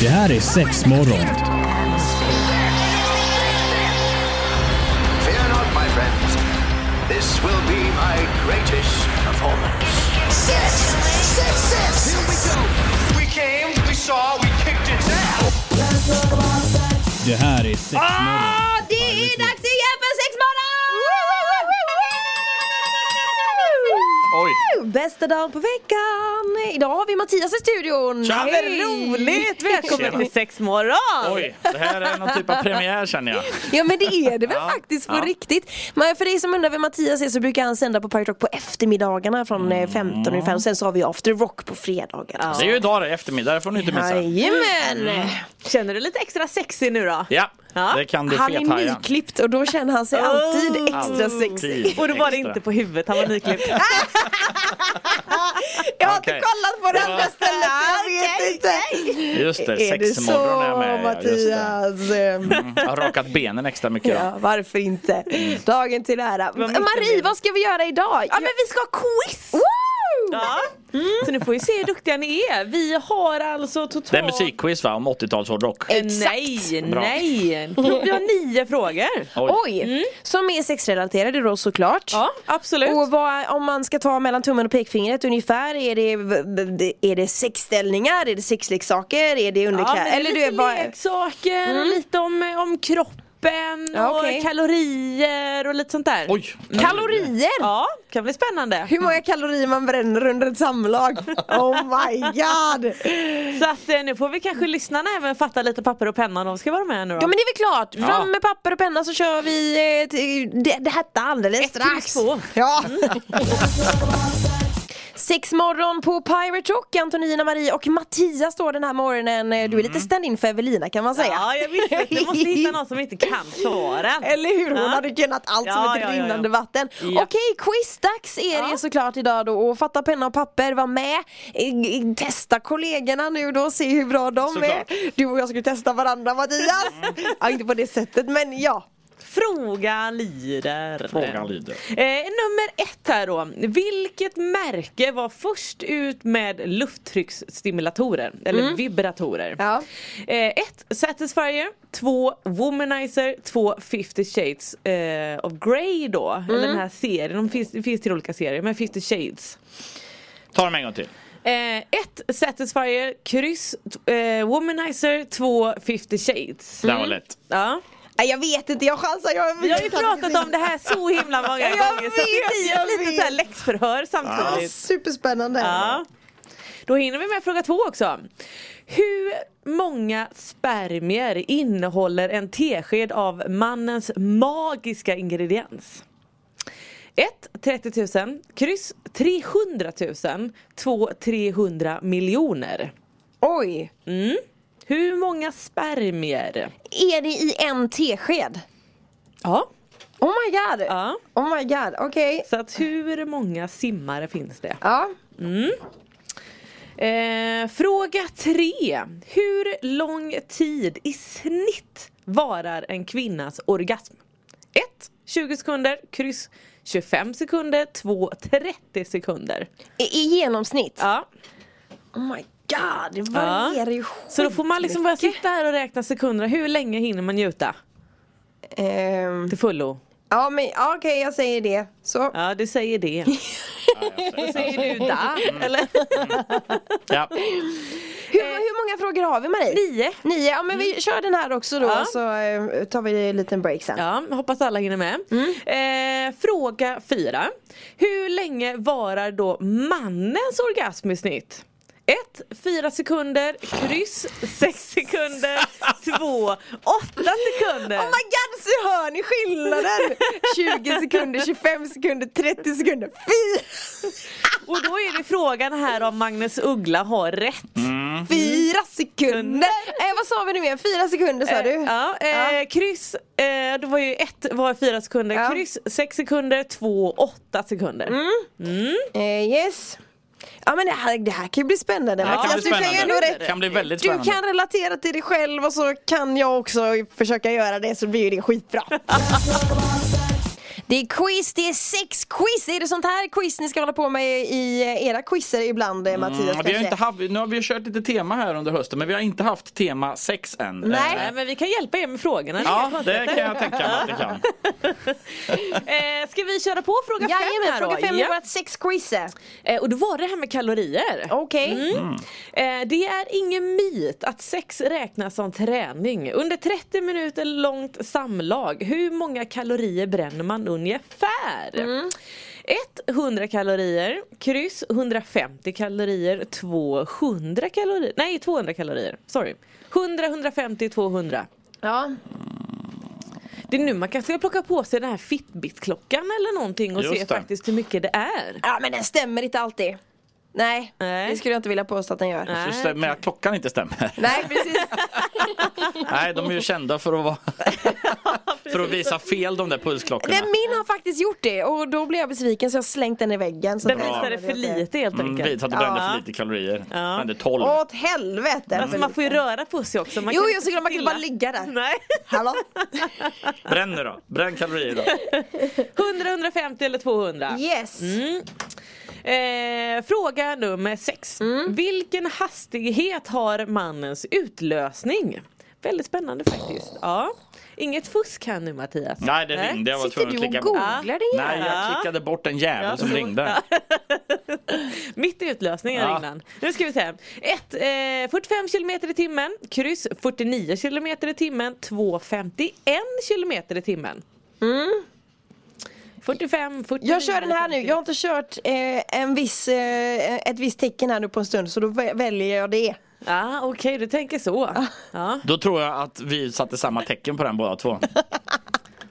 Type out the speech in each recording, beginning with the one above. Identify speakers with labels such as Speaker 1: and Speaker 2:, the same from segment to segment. Speaker 1: Det här är sex morgon.
Speaker 2: Fear not, my friends. This will be my greatest performance.
Speaker 3: Six, six, six. Here we go.
Speaker 2: We came, we saw, we kicked its ass.
Speaker 1: Det här är sex morgon.
Speaker 4: Ja, det Ah, är dags igen för sexmorgon!
Speaker 5: Oj.
Speaker 4: Bästa dagen på veckan! Idag har vi Mattias i studion.
Speaker 5: Tja!
Speaker 4: Hej!
Speaker 6: Roligt! Välkommen
Speaker 5: Tjena.
Speaker 6: till sex morgon!
Speaker 5: Oj, det här är någon typ av premiär känner jag.
Speaker 4: Ja men det är det väl
Speaker 5: Ja,
Speaker 4: faktiskt på
Speaker 5: ja.
Speaker 4: riktigt. Men för dig som undrar vem Mattias är så brukar han sända på Pirate Rock på eftermiddagarna från eh, 15 ungefär. Och sen så har vi After Rock på fredagar.
Speaker 5: Mm.
Speaker 4: Alltså,
Speaker 5: Det är ju idag det, eftermiddag, det får ni inte missa.
Speaker 4: Jajamän!
Speaker 6: Mm. Känner du lite extra sexig nu då?
Speaker 5: Ja,
Speaker 6: Ja.
Speaker 5: det kan du
Speaker 4: Han är
Speaker 5: fethaja. Ah,
Speaker 4: nyklippt och då känner han sig alltid
Speaker 6: Oh.
Speaker 4: extra sexig.
Speaker 5: Alltid
Speaker 6: Och då var det
Speaker 5: extra.
Speaker 6: inte på huvudet, han var nyklippt.
Speaker 4: Jag har
Speaker 5: Okej.
Speaker 4: inte kollat på det andra stället så Alltså, jag vet inte.
Speaker 5: Just det,
Speaker 4: Är det så
Speaker 5: sexmorgon är med. ja, just det.
Speaker 4: Mattias? Mm.
Speaker 5: Jag har rakat benen extra
Speaker 4: Ja,
Speaker 5: mycket idag.
Speaker 4: varför inte? Dagen till ära.
Speaker 6: Mm. mycket
Speaker 4: Marie,
Speaker 6: mer.
Speaker 4: vad ska vi göra idag? Ja, men vi ska ha quiz! Woo!
Speaker 6: Ja. Så nu får vi se hur duktiga ni är. Vi har alltså totalt...
Speaker 5: Det är musikquiz va, om 80-talshårdrock?
Speaker 6: Eh,
Speaker 4: Exakt.
Speaker 6: Nej,
Speaker 5: Bra.
Speaker 6: nej. Vi har nio frågor.
Speaker 4: Oj! Som är sexrelaterade då såklart.
Speaker 6: Mm. Ja, absolut.
Speaker 4: Och vad, om man ska ta mellan tummen och pekfingret ungefär, är det, är det sexställningar, är det sexleksaker, är det
Speaker 6: ja,
Speaker 4: underkläder?
Speaker 6: men det är lite
Speaker 4: du är bara- Mm.
Speaker 6: leksaker, lite om, eh, om kroppen
Speaker 4: Ja, okej.
Speaker 6: och kalorier och lite sånt där.
Speaker 5: Oj!
Speaker 4: Kalorier!
Speaker 6: Ja, kan bli spännande.
Speaker 4: Hur många kalorier man bränner under ett samlag? Oh my god!
Speaker 6: Så att eh, nu får vi kanske lyssnarna även fatta lite papper och penna om de ska vara med nu då.
Speaker 4: Ja men det är väl klart, fram
Speaker 5: Ja.
Speaker 4: med papper och penna så kör vi eh, till- det, det hette alldeles
Speaker 6: Ett
Speaker 4: strax.
Speaker 6: plus två.
Speaker 4: Ja. Sex morgon på Pirate Rock, Antonina, Marie och Mattias står den här morgonen. Du är lite stand-in för Evelina kan man säga.
Speaker 6: Mm. Ja, jag visste att du måste hitta någon som inte kan svaren.
Speaker 4: Eller hur, hon
Speaker 6: Ja.
Speaker 4: hade kunnat allt som
Speaker 6: Ja,
Speaker 4: ett
Speaker 6: ja, ja, ja.
Speaker 4: rinnande vatten.
Speaker 6: Ja.
Speaker 4: Okej, quizdags är det
Speaker 6: Ja.
Speaker 4: ju såklart idag då. Och fatta penna och papper, var med. I- i- Testa kollegorna nu då, se hur bra de
Speaker 5: Såklart.
Speaker 4: är. Du och jag skulle testa varandra Mattias.
Speaker 6: Mm.
Speaker 4: Ja, inte på det sättet men ja.
Speaker 6: Fråga lyder.
Speaker 5: Frågan lyder.
Speaker 6: Eh, nummer ett här då. Vilket märke var först ut med lufttrycksstimulatorer? Eller vibratorer.
Speaker 4: Mm. Ja.
Speaker 6: Eh, ett Satisfyer, två Womanizer, två 50 shades eh, of Grey då.
Speaker 4: Mm.
Speaker 6: Eller den här serien, de finns, det finns till olika serier men 50 shades.
Speaker 5: Ta dem en gång till.
Speaker 6: Eh, ett Satisfyer, kryss, t- eh, Womanizer, två 50 shades.
Speaker 5: Den var
Speaker 4: Mm.
Speaker 5: lätt.
Speaker 6: Ja.
Speaker 4: Nej, Jag vet inte, jag chansar. Jag,
Speaker 6: Vi har ju pratat om det här så himla många
Speaker 4: Jag
Speaker 6: gånger så
Speaker 4: vet,
Speaker 6: att
Speaker 4: jag
Speaker 6: det
Speaker 4: vet.
Speaker 6: blir lite så här läxförhör samtidigt.
Speaker 4: Superspännande.
Speaker 6: Ja. Då hinner vi med fråga två också. Hur många spermier innehåller en tesked av mannens magiska ingrediens? 1. 30 000 Kryss 300 000 2. 300 miljoner
Speaker 4: Oj,
Speaker 6: Hur många spermier?
Speaker 4: är det i en tesked?
Speaker 6: Ja,
Speaker 4: Oh my god.
Speaker 6: ja.
Speaker 4: Oh my god, okej.
Speaker 6: Så att hur många simmare finns det?
Speaker 4: Ja.
Speaker 6: Eh, fråga tre. Hur lång tid i snitt varar en kvinnas orgasm? 1. 20 sekunder, kryss 25 sekunder, 2. 30 sekunder.
Speaker 4: I, I genomsnitt?
Speaker 6: Ja.
Speaker 4: Oh my god, det varierar ju
Speaker 6: Så då får man liksom börja
Speaker 4: skitmycket.
Speaker 6: sitta här och räkna sekunder. Hur länge hinner man njuta
Speaker 4: Ehm,
Speaker 6: till fullo?
Speaker 4: Ja men ja, okej jag säger det. Så.
Speaker 6: Ja, du säger det. Vad säger du där? Eller?
Speaker 5: Ja.
Speaker 4: Hur, hur många frågor har vi Marie?
Speaker 6: Eh, Nio. Mm.
Speaker 4: Nio, ja men vi kör den här också då
Speaker 6: Ja.
Speaker 4: så eh, tar vi en liten break sen.
Speaker 6: Ja, hoppas alla hinner med.
Speaker 4: Mm.
Speaker 6: Eh, fråga fyra. Hur länge varar då mannens orgasm i snitt? 1. 4 sekunder, kryss 6 sekunder, 2. 8 sekunder.
Speaker 4: Oh my god, så hör ni skillnaden! 20 sekunder, 25 sekunder, 30 sekunder, fy!
Speaker 6: Och då är det frågan här om Magnus Uggla har rätt.
Speaker 4: Fyra sekunder! Eh, vad sa vi nu igen? Fyra sekunder sa du?
Speaker 6: Eh, ja, eh, kryss, eh, det var ju 1 var 4 sekunder,
Speaker 4: Ja. Mm,
Speaker 6: kryss 6 sekunder, 2. 8 sekunder.
Speaker 4: Eh, yes. Ja men det här, det här kan ju bli spännande.
Speaker 5: Det
Speaker 4: Mattias,
Speaker 5: kan bli
Speaker 4: du kan ju ändå
Speaker 5: spännande.
Speaker 4: rätt.
Speaker 5: kan bli väldigt
Speaker 4: Du
Speaker 5: spännande.
Speaker 4: kan relatera till dig själv och så kan jag också försöka göra det så blir ju det skitbra. Det Det är quiz, det är sex quiz. Är det sånt här quiz ni ska hålla på med i era quizer ibland eh, Mattias?
Speaker 5: Mm, vi har
Speaker 4: kanske?
Speaker 5: inte haft, nu har vi kört lite tema här under hösten men vi har inte haft tema sex än.
Speaker 4: Nej.
Speaker 5: Eh,
Speaker 6: Nej, men vi kan hjälpa er med frågorna.
Speaker 5: Ja, det kan jag tänka mig att det kan.
Speaker 6: Eh, ska vi köra på fråga fem
Speaker 4: Jajamän,
Speaker 6: här
Speaker 4: fråga
Speaker 6: då?
Speaker 4: fem
Speaker 6: Ja.
Speaker 4: är vårt sexquiz.
Speaker 6: Eh, och då var det här med kalorier.
Speaker 4: Okej.
Speaker 6: Mm. Eh, det är ingen myt att sex räknas som träning. Under 30 minuter långt samlag, hur många kalorier bränner man ungefär? 100 kalorier, kryss 150 kalorier, 200 kalorier, nej 200 kalorier, sorry. 100, 150, 200.
Speaker 4: Ja.
Speaker 6: Det är nu man kanske ska plocka på sig den här Fitbit-klockan eller någonting och
Speaker 5: Just
Speaker 6: se
Speaker 5: det.
Speaker 6: faktiskt hur mycket det är.
Speaker 4: ja, men den stämmer inte alltid. Nej,
Speaker 6: Nej.
Speaker 4: det skulle jag inte vilja påstå att den gör.
Speaker 6: Nej.
Speaker 5: Så stämmer att klockan inte stämmer.
Speaker 4: Nej, precis.
Speaker 5: Nej, de är ju kända för att, vara, för att visa fel de där pulsklockorna.
Speaker 4: Den min har faktiskt gjort det och då blev jag besviken så jag har slängt den i väggen. Så
Speaker 6: Den
Speaker 4: att-
Speaker 6: visade för lite helt
Speaker 5: Mm,
Speaker 6: enkelt.
Speaker 5: vi att du brände för lite kalorier.
Speaker 6: Ja.
Speaker 5: Brände 12.
Speaker 4: Åt helvete!
Speaker 6: Alltså man får ju röra på sig också. Man
Speaker 4: Jo,
Speaker 6: kan
Speaker 4: jag
Speaker 6: inte
Speaker 4: såg att man kan
Speaker 6: stilla.
Speaker 4: bara ligga där.
Speaker 6: Nej.
Speaker 4: Hallå?
Speaker 5: Bränn nu då. Bränn kalorier då.
Speaker 6: 100, 150 eller 200.
Speaker 4: Yes!
Speaker 6: Eh, fråga nummer 6.
Speaker 4: Mm.
Speaker 6: Vilken hastighet har mannens utlösning? Väldigt spännande faktiskt. Ja. Inget fusk här nu Mattias.
Speaker 5: Nej, det ringde. Jag var
Speaker 4: Sitter
Speaker 5: tvungen att
Speaker 4: du
Speaker 5: klicka
Speaker 4: och
Speaker 5: bort.
Speaker 4: googlar din
Speaker 5: Nej, jag klickade bort en jävel
Speaker 6: Ja.
Speaker 5: som ringde.
Speaker 6: Mitt i utlösningen
Speaker 5: Ja.
Speaker 6: innan. Nu ska vi se. 1. Eh, 45 kilometer i timmen. Kryss 49 kilometer i timmen. 2. 51 kilometer i timmen. 45, 49.
Speaker 4: Mm. Jag kör den här nu, jag har inte kört eh, en viss, eh, ett visst tecken här nu på en stund så då vä- väljer jag det.
Speaker 6: Ja, Okej, du tänker så. Ja.
Speaker 5: Då tror jag att vi satte samma tecken på den båda två.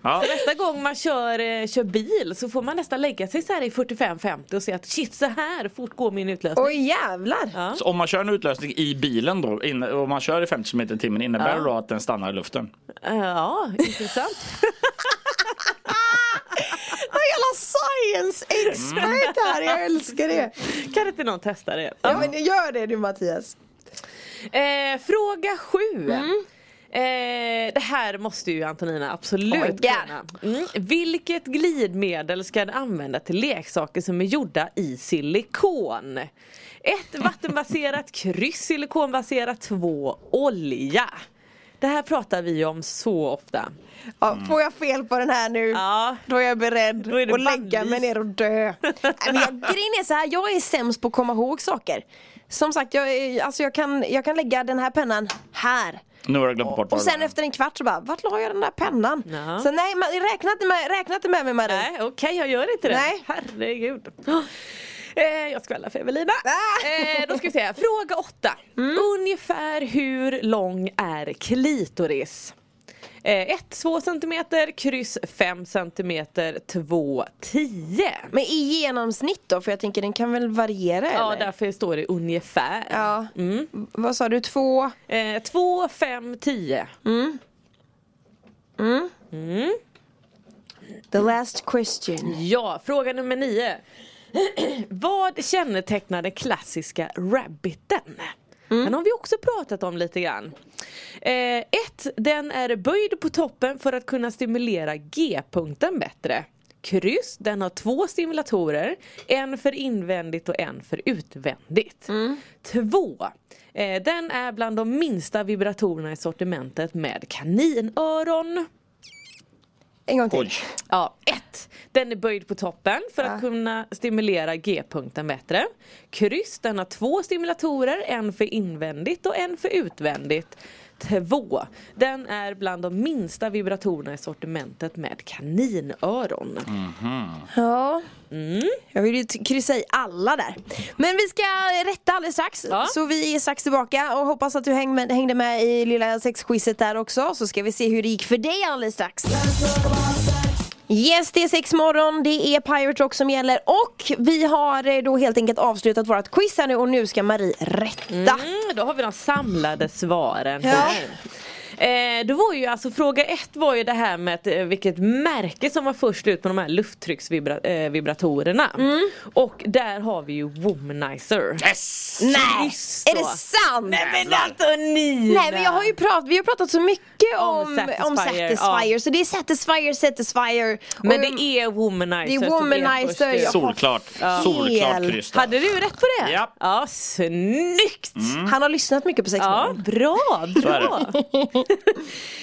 Speaker 5: Ja,
Speaker 6: Nästa gång man kör, eh, kör bil så får man nästan lägga sig så här i 45-50 och se att shit så här fort går min utlösning.
Speaker 4: Oj jävlar!
Speaker 6: Ja.
Speaker 5: så om man kör en utlösning i bilen då, in, om man kör i 50 km i timmen, innebär
Speaker 6: Ja.
Speaker 5: det då att den stannar i luften?
Speaker 6: Eh, Ja, intressant.
Speaker 4: Vad jävla science expert här, jag älskar det!
Speaker 6: kan inte någon testa det?
Speaker 4: Ja men gör det du Mattias!
Speaker 6: Eh, fråga sju. Eh, det här måste ju Antonina absolut
Speaker 4: Oh my God.
Speaker 6: kunna. Mm. Vilket glidmedel ska du använda till leksaker som är gjorda i silikon? Ett vattenbaserat, kryss silikonbaserat, två olja. Det här pratar vi om så ofta.
Speaker 4: Ja,
Speaker 5: Mm.
Speaker 4: får jag fel på den här nu
Speaker 6: Ja.
Speaker 4: då är jag beredd
Speaker 6: Då är det
Speaker 4: att lägga mig
Speaker 6: bannlyst.
Speaker 4: ner och dö. Nej, men jag, grejen är så här, jag är sämst på att komma ihåg saker. Som sagt, jag, är- alltså jag, kan, jag kan lägga den här pennan här.
Speaker 5: Nu har jag glömt bort
Speaker 4: Och
Speaker 5: vad det
Speaker 4: sen
Speaker 5: var.
Speaker 4: efter en kvart så bara, vart la jag den där pennan?
Speaker 6: Ja.
Speaker 4: Så nej, man, räkna inte med, räkna inte med mig Marie.
Speaker 6: Nej okej jag gör inte det.
Speaker 4: Nej.
Speaker 6: Herregud. Eh, jag skvallrar för Evelina.
Speaker 4: Ah. Mm.
Speaker 6: Eh, då ska vi se. Fråga åtta. Ungefär hur lång är klitoris? Eh, 1 2 cm, kryss 5 cm, 2 10.
Speaker 4: Men i genomsnitt då, för jag tänker den kan väl variera
Speaker 6: Ja, Mm.
Speaker 4: eller?
Speaker 6: därför står det ungefär. Eh,
Speaker 4: Ja. V- Vad sa du, två?
Speaker 6: 2, 5, 10.
Speaker 4: The last question.
Speaker 6: Ja, fråga nummer 9. Vad kännetecknar den klassiska rabbiten? Den har vi också pratat om lite grann. 1. den är böjd på toppen för att kunna stimulera G-punkten bättre. Kryss, den har två stimulatorer. En för invändigt och en för utvändigt. 2. Eh, den är bland de minsta vibratorerna i sortimentet med kaninöron.
Speaker 4: En gång till.
Speaker 5: Oj,
Speaker 6: Ja, ett. Den är böjd på toppen för att kunna stimulera G-punkten bättre. Kryss, den har två stimulatorer, en för invändigt och en för utvändigt. Två. Den är bland de minsta vibratorerna i sortimentet med kaninöron.
Speaker 4: Ja.
Speaker 6: Mm.
Speaker 4: Jag vill ju t- kryssa i alla där. Men vi ska rätta alldeles strax.
Speaker 6: Ja.
Speaker 4: Så vi är strax tillbaka och hoppas att du häng med, hängde med i lilla sexquizet där också. Så ska vi se hur det gick för dig alldeles strax. Yes, det är sex morgon, det är Pirate Rock som gäller och vi har eh, då helt enkelt avslutat vårt quiz här nu och nu ska Marie rätta.
Speaker 6: Mm, då har vi de samlade svaren
Speaker 4: Ja.
Speaker 6: här. Eh, då var ju alltså fråga ett var ju det här med att, eh, vilket märke som var först ut med de här lufttrycksvibratorerna. Och där har vi ju Womanizer.
Speaker 5: Yes!
Speaker 4: Nej!
Speaker 6: Visst
Speaker 4: Är det
Speaker 6: då.
Speaker 4: sant? Nej men,
Speaker 5: alltså,
Speaker 6: Antonina!
Speaker 4: jag har ju pratat, vi har pratat så mycket om,
Speaker 6: Om
Speaker 4: om Satisfyer,
Speaker 6: Satisfyer,
Speaker 4: så det är Satisfyer, Satisfyer
Speaker 6: Men
Speaker 4: Och-
Speaker 6: det är Womanizer.
Speaker 4: Det är
Speaker 6: som först
Speaker 4: Womanizer,
Speaker 6: ut.
Speaker 4: ja.
Speaker 5: Solklart. Solklart
Speaker 4: Fel.
Speaker 5: kryss där.
Speaker 6: Hade du rätt på det?
Speaker 5: Japp. Mm.
Speaker 6: Ja, snyggt!
Speaker 4: Han har lyssnat mycket på sex
Speaker 6: Ja,
Speaker 4: Morgon.
Speaker 6: bra,
Speaker 5: är det.
Speaker 6: bra!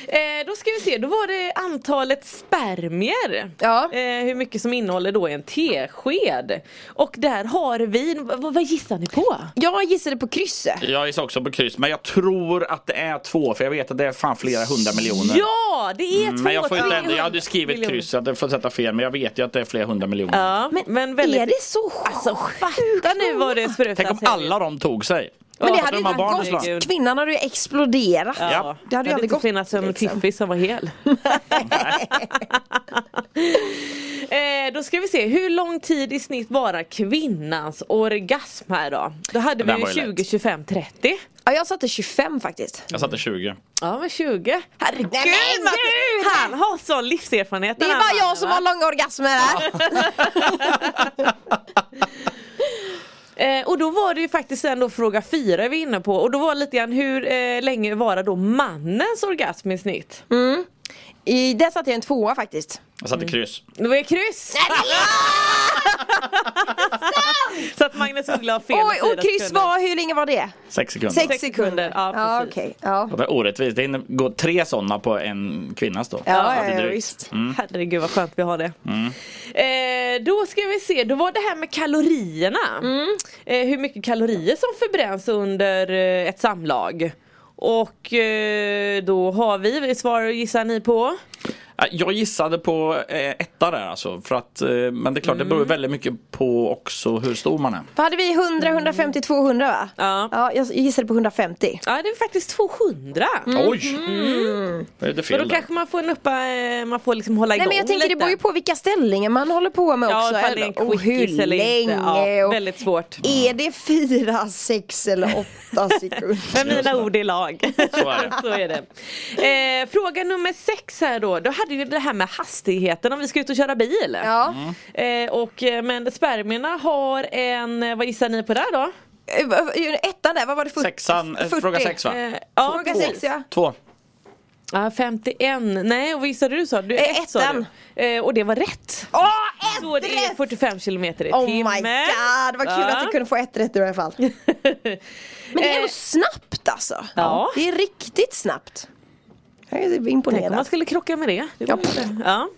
Speaker 6: eh, då ska vi se, då var det antalet spermier.
Speaker 4: Ja.
Speaker 6: Eh, hur mycket som innehåller då en tesked. Och där har vi, vad, vad gissar ni på?
Speaker 4: Jag gissade på krysset.
Speaker 5: Jag gissar också på kryss, men jag tror att det är två för jag vet att det är fan flera hundra miljoner.
Speaker 6: Ja, det är två
Speaker 5: Mm, men jag får inte ändå, jag hade
Speaker 6: 300
Speaker 5: skrivit
Speaker 6: miljoner.
Speaker 5: kryss så att jag får sätta fel men jag vet ju att det är flera hundra miljoner.
Speaker 6: Ja, men, väldigt...
Speaker 4: Är det så sjukt?
Speaker 6: Alltså fatta nu vad det sprutas
Speaker 5: Tänk om
Speaker 6: här.
Speaker 5: alla de tog sig.
Speaker 4: Men det
Speaker 5: Ja,
Speaker 4: hade ju
Speaker 5: de har barn
Speaker 4: inte
Speaker 5: och
Speaker 4: gått.
Speaker 6: sådär.
Speaker 4: Kvinnan hade ju exploderat.
Speaker 6: Ja.
Speaker 4: Det hade ju aldrig gått.
Speaker 6: inte funnits en
Speaker 4: liksom.
Speaker 6: Tiffy som var hel. eh, då ska vi se, hur lång tid i snitt varar kvinnans orgasm här då? Då hade vi
Speaker 5: Den
Speaker 6: ju
Speaker 5: var ju
Speaker 6: 20,
Speaker 5: lätt.
Speaker 6: 25, 30.
Speaker 4: Ja, jag satte 25 faktiskt.
Speaker 5: Jag satte 20.
Speaker 6: Ja men 20. Herregud
Speaker 4: Nej, men gud!
Speaker 6: Marcus, han har sån livserfarenhet
Speaker 4: Det
Speaker 6: den
Speaker 4: är
Speaker 6: här
Speaker 4: bara jag
Speaker 6: mannen,
Speaker 4: som
Speaker 6: va?
Speaker 4: har långa orgasmer här.
Speaker 6: Eh, och då var det ju faktiskt ändå fråga fyra vi är inne på och då var lite grann hur eh, länge varar då mannens orgasm i snitt?
Speaker 4: I det satte jag en tvåa faktiskt.
Speaker 5: Jag satte kryss.
Speaker 6: Det var ju kryss! Så att Magnus Uggla har fel i
Speaker 4: Oj, och
Speaker 6: fyra
Speaker 4: kryss
Speaker 6: sekunder.
Speaker 4: var, hur länge var det?
Speaker 5: Sex sekunder.
Speaker 4: Sex
Speaker 6: Sex
Speaker 4: sekunder.
Speaker 6: sekunder, ja,
Speaker 4: ja
Speaker 6: precis.
Speaker 4: okej. Ja.
Speaker 5: Det är orättvist, det hinner gå tre sådana på en kvinnas då.
Speaker 4: Ja, ja,
Speaker 5: det är
Speaker 4: ja,
Speaker 5: drygt.
Speaker 4: visst.
Speaker 6: Herregud vad skönt vi har det. Eh, då ska vi se, då var det här med kalorierna.
Speaker 4: Mm.
Speaker 6: Eh, hur mycket kalorier som förbränns under eh, ett samlag. Och eh, då har vi, svar gissar ni på?
Speaker 5: Ja, Äh, Jag gissade på eh, etta där alltså, för att, eh, men det är klart det beror väldigt mycket på också hur stor man är.
Speaker 4: Vad hade vi? 100, 150, 200 va?
Speaker 6: Mm. Ja.
Speaker 4: Ja, jag gissade på 150.
Speaker 6: Ja det är faktiskt 200.
Speaker 4: Mm.
Speaker 5: Oj! Det är det
Speaker 6: Men
Speaker 5: fel
Speaker 6: då
Speaker 5: där.
Speaker 6: kanske man får nuppa, eh, man får liksom hålla igång
Speaker 4: Nej men jag tänker det
Speaker 6: lite.
Speaker 4: beror ju på vilka ställningar man håller på med
Speaker 6: Ja,
Speaker 4: också.
Speaker 6: ifall det är en
Speaker 4: och hur
Speaker 6: quickies eller inte.
Speaker 4: länge.
Speaker 6: Ja,
Speaker 4: och
Speaker 6: väldigt svårt.
Speaker 4: Är det fyra, sex eller åtta sekunder?
Speaker 6: Men mina ord är lag.
Speaker 5: Så är det.
Speaker 6: Så är det. Eh, fråga nummer sex här då. Då hade vi det här med hastigheten om vi ska ut och köra bil.
Speaker 4: Ja.
Speaker 6: Eh, och, eh, men spermierna har en, eh, vad gissar ni på där då?
Speaker 4: Mm. Ettan där, vad var det? Fyrtio-
Speaker 5: Sexan, eh,
Speaker 4: 40?
Speaker 5: fråga sex va?
Speaker 6: Eh,
Speaker 4: Fråga
Speaker 6: två.
Speaker 4: sex ja.
Speaker 5: Två.
Speaker 6: Ja, 51, nej och vad gissade du sa du?
Speaker 4: Eh,
Speaker 6: Ett sa
Speaker 4: ettan.
Speaker 6: du. Eh, och det var rätt.
Speaker 4: Åh,
Speaker 6: Så
Speaker 4: ett
Speaker 6: det är
Speaker 4: rätt!
Speaker 6: 45 kilometer i
Speaker 4: Oh my
Speaker 6: timmen.
Speaker 4: god, vad kul
Speaker 6: Ja.
Speaker 4: att du kunde få ett rätt i alla fall. Men det är ändå
Speaker 6: Eh.
Speaker 4: snabbt alltså.
Speaker 6: Ja.
Speaker 4: Det är riktigt snabbt. Jag är
Speaker 6: Tänk om man
Speaker 4: imponerad.
Speaker 6: skulle krocka med det. det var
Speaker 4: Ja.
Speaker 6: ju det. Ja.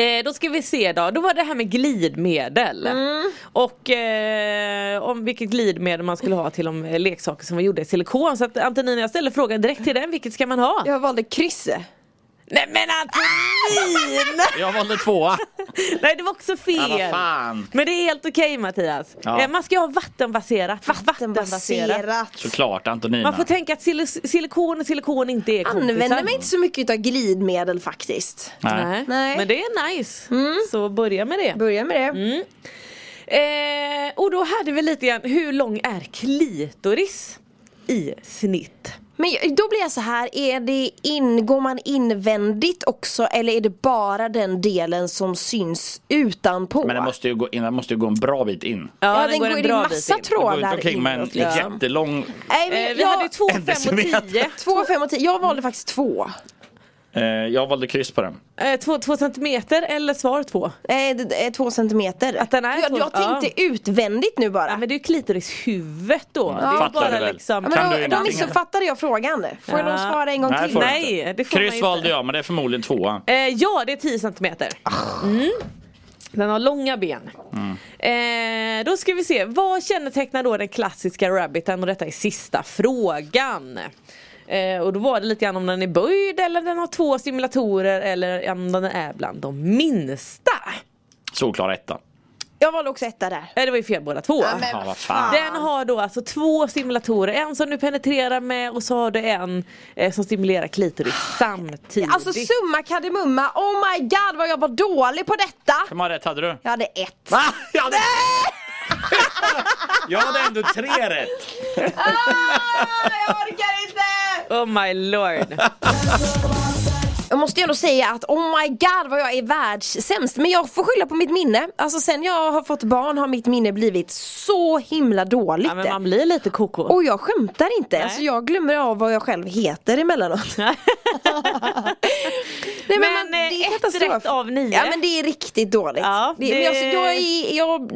Speaker 6: Eh, då ska vi se då, då var det här med glidmedel.
Speaker 4: Mm.
Speaker 6: Och eh, om vilket glidmedel man skulle ha till de eh, leksaker som var gjorda i silikon. Så att Antonina jag ställer frågan direkt till den, vilket ska man ha?
Speaker 4: Jag valde krysse.
Speaker 6: Nej men Antonina!
Speaker 5: Jag valde tvåa.
Speaker 6: Nej det var också
Speaker 5: Ja, vad
Speaker 6: fel.
Speaker 5: fan.
Speaker 6: men det är helt okej Mattias.
Speaker 5: Ja.
Speaker 6: Eh, man ska ha vattenbaserat. Va-
Speaker 4: Vattenbaserat.
Speaker 5: Såklart Antonina.
Speaker 6: Man får tänka att sil- silikon och silikon inte är kompisar.
Speaker 4: Använder mig inte så mycket av glidmedel faktiskt.
Speaker 5: Nej.
Speaker 4: Nej. Mm.
Speaker 6: Men det är nice. Så börja med det.
Speaker 4: Börja med det.
Speaker 6: Eh, och då hade vi lite grann, hur lång är klitoris i snitt?
Speaker 4: Men jag- då blir jag så här, är det in, går man invändigt också eller är det bara den delen som syns utanpå?
Speaker 5: Men den måste, ju gå in, den måste ju gå en bra bit in.
Speaker 4: ja, den, går, det är massa
Speaker 5: Det går
Speaker 4: trådar
Speaker 5: ju inte omkring med en
Speaker 4: inåt, liksom.
Speaker 5: jättelång...
Speaker 4: Nej, men
Speaker 6: Eh, vi
Speaker 4: jag,
Speaker 6: hade ju två,
Speaker 5: en
Speaker 6: fem och
Speaker 5: decimeter.
Speaker 6: tio.
Speaker 4: Två, fem och tio. Jag valde faktiskt två.
Speaker 5: Eh, jag valde kryss på den.
Speaker 6: Eh, två, två centimeter eller svar två?
Speaker 4: Eh, d- d- eh, två centimeter.
Speaker 6: Att den är
Speaker 4: jag,
Speaker 6: två-
Speaker 4: jag tänkte utvändigt nu bara.
Speaker 6: Ja,
Speaker 4: Ja,
Speaker 6: men det är ju klitorishuvudet då. det är ju
Speaker 5: fattar
Speaker 6: bara
Speaker 5: du väl.
Speaker 6: liksom...
Speaker 5: Ja, kan
Speaker 4: men
Speaker 5: du
Speaker 4: då,
Speaker 5: ju
Speaker 4: då
Speaker 5: någonting,
Speaker 4: missuppfattade jag frågan. Får jag
Speaker 6: Ja.
Speaker 4: nog svara en gång
Speaker 5: Nej,
Speaker 4: till?
Speaker 5: får du
Speaker 6: Nej,
Speaker 5: inte.
Speaker 6: det får man
Speaker 5: Kryss
Speaker 6: inte.
Speaker 5: valde jag men det är förmodligen tvåa.
Speaker 6: Eh, ja, det är 10 centimeter. Mm. Den har långa ben. Eh, då ska vi se, vad kännetecknar då den klassiska rabbiten? Och detta är sista frågan. Eh, och då var det lite grann om den är böjd eller den har två simulatorer eller om den är bland de minsta.
Speaker 5: Solklar etta.
Speaker 4: Jag valde också etta där.
Speaker 6: Eh, det var ju fel båda två.
Speaker 4: men
Speaker 5: Ja, vad
Speaker 4: fan.
Speaker 5: fan.
Speaker 6: Den har då alltså två simulatorer, en som du penetrerar med och så har du en eh, som stimulerar klitoris samtidigt.
Speaker 4: Alltså summa kardemumma, oh my god vad jag var dålig på detta!
Speaker 5: Hur många rätt hade du?
Speaker 6: Ah,
Speaker 4: Jag hade ett.
Speaker 5: Va? Jag hade, jag hade ändå tre rätt!
Speaker 4: Ah, jag orkar inte!
Speaker 6: Oh my lord.
Speaker 4: Jag måste ju ändå säga att oh my god vad jag är världssämst. Men jag får skylla på mitt minne. Alltså sen jag har fått barn har mitt minne blivit så himla dåligt.
Speaker 6: ja, men man blir lite koko.
Speaker 4: Och jag skämtar inte. Alltså jag glömmer av vad jag själv heter emellanåt. Nej, men
Speaker 6: Men, eh, ett rätt av nio.
Speaker 4: Ja men det är riktigt dåligt.
Speaker 6: Ja,
Speaker 4: det... Men
Speaker 6: det-
Speaker 4: alltså, jag är, jag...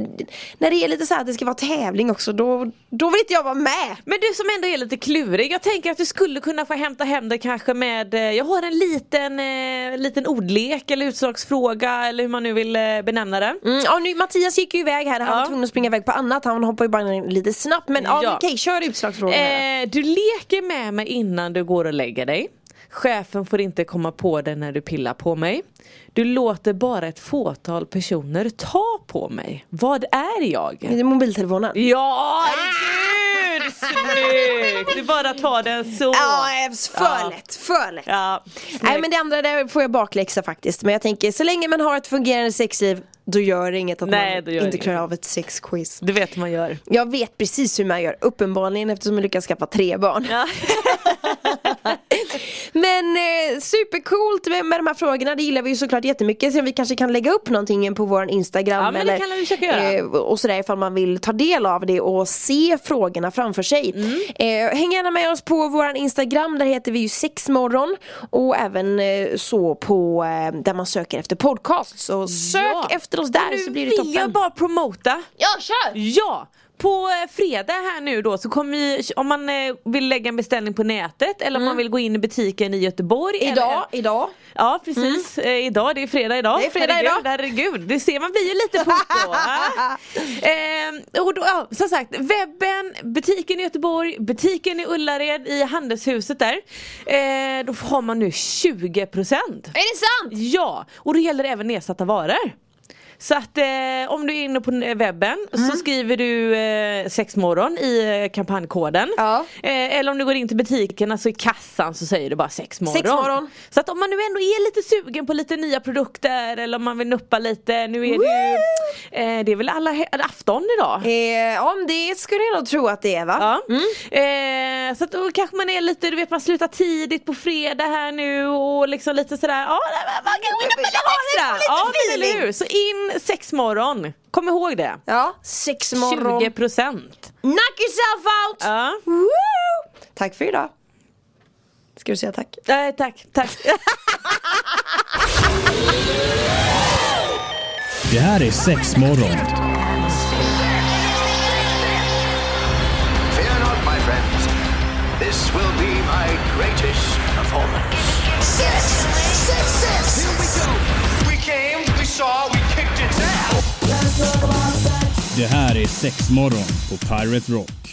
Speaker 4: När det är lite så här att det ska vara tävling också då, då vill inte jag vara med.
Speaker 6: Men du som ändå är lite klurig, jag tänker att du skulle kunna få hämta hem det kanske med, eh, jag har en liten, eh, liten ordlek eller utslagsfråga eller hur man nu vill eh, benämna det.
Speaker 4: Mm, ja, nu, Mattias gick ju iväg här, han
Speaker 6: Ja.
Speaker 4: var tvungen att springa iväg på annat, han hoppade ju bara in lite snabbt men ja.
Speaker 6: Ja.
Speaker 4: okej, kör utslagsfrågan här.
Speaker 6: Eh, du leker med mig innan du går och lägger dig. Chefen får inte komma på dig när du pillar på mig. Du låter bara ett fåtal personer ta på mig. Vad är
Speaker 4: Är
Speaker 6: jag?
Speaker 4: det mobiltelefonen?
Speaker 6: Ja, gud snyggt! Du bara tar den så.
Speaker 4: Ja, eh, för
Speaker 6: Ja.
Speaker 4: lätt, för lätt.
Speaker 6: Ja,
Speaker 4: Nej men det andra där får jag bakläxa faktiskt. Men jag tänker så länge man har ett fungerande sexliv då gör det inget att
Speaker 6: Nej,
Speaker 4: man
Speaker 6: det gör
Speaker 4: inte
Speaker 6: inget.
Speaker 4: klarar av ett sexquiz.
Speaker 6: Du vet hur man gör.
Speaker 4: Jag vet precis hur man gör, uppenbarligen eftersom jag lyckas skaffa tre barn.
Speaker 6: Ja.
Speaker 4: Men eh, supercoolt med, med de här frågorna, det gillar vi ju såklart jättemycket. Sen vi kanske kan lägga upp någonting på vår Instagram
Speaker 6: Ja, men det
Speaker 4: eller,
Speaker 6: kan vi försöka göra.
Speaker 4: eh, och sådär ifall man vill ta del av det och se frågorna framför sig.
Speaker 6: Mm.
Speaker 4: Eh, häng gärna med oss på vår Instagram, där heter vi ju sexmorgon och även eh, så på eh, där man söker efter podcast. Så sök
Speaker 6: Ja.
Speaker 4: efter oss
Speaker 6: Och
Speaker 4: där
Speaker 6: nu
Speaker 4: så blir det
Speaker 6: vill
Speaker 4: toppen.
Speaker 6: jag bara promota. Ja, kör! Ja! På eh, fredag här nu då så kommer vi, om man eh, vill lägga en beställning på nätet eller om man vill gå in i butiken i Göteborg.
Speaker 4: Mm. Idag,
Speaker 6: Eller,
Speaker 4: idag.
Speaker 6: ja precis, eh, idag, det är fredag idag.
Speaker 4: Det är fredag
Speaker 6: herregud,
Speaker 4: idag.
Speaker 6: Herregud, det ser man blir ju lite poko. va? eh, och då, ja, som sagt, webben, butiken i Göteborg, butiken i Ullared i handelshuset där. Eh, då har man nu 20%
Speaker 4: Är det sant?
Speaker 6: Ja, och det gäller även nedsatta varor. Så att eh, om du är inne på eh, webben
Speaker 4: Mm.
Speaker 6: så skriver du eh, sexmorgon i eh, kampanjkoden.
Speaker 4: Ja.
Speaker 6: Eh, eller om du går in till butiken, alltså i kassan så säger du bara sexmorgon.
Speaker 4: Sexmorgon.
Speaker 6: Så att om man nu ändå är lite sugen på lite nya produkter eller om man vill nuppa lite. Nu är det ju, eh, det är väl alla he- afton idag?
Speaker 4: Eh, om det skulle jag nog tro att det är va?
Speaker 6: Ja.
Speaker 4: Mm.
Speaker 6: Eh, så att då kanske man är lite, du vet man slutar tidigt på fredag här nu och liksom lite sådär, ja nej, men man kan gå in och
Speaker 4: Jag har lite-
Speaker 6: extra.
Speaker 4: lite
Speaker 6: Ja men
Speaker 4: feeling.
Speaker 6: eller hur, så in sexmorgon, kom ihåg det.
Speaker 4: Ja, sexmorgon.
Speaker 6: 20 procent.
Speaker 4: Knock yourself out!
Speaker 6: Ja.
Speaker 4: Woo! Tack för idag. Ska du säga tack?
Speaker 6: Eh, tack, tack.
Speaker 1: Det här är sexmorgon.
Speaker 2: Fear not, my friends. This will be my greatest performance.
Speaker 3: Six, six, six. Here we go.
Speaker 2: We came, we saw, we kicked its ass.
Speaker 1: Det här är sexmorgon på Pirate Rock.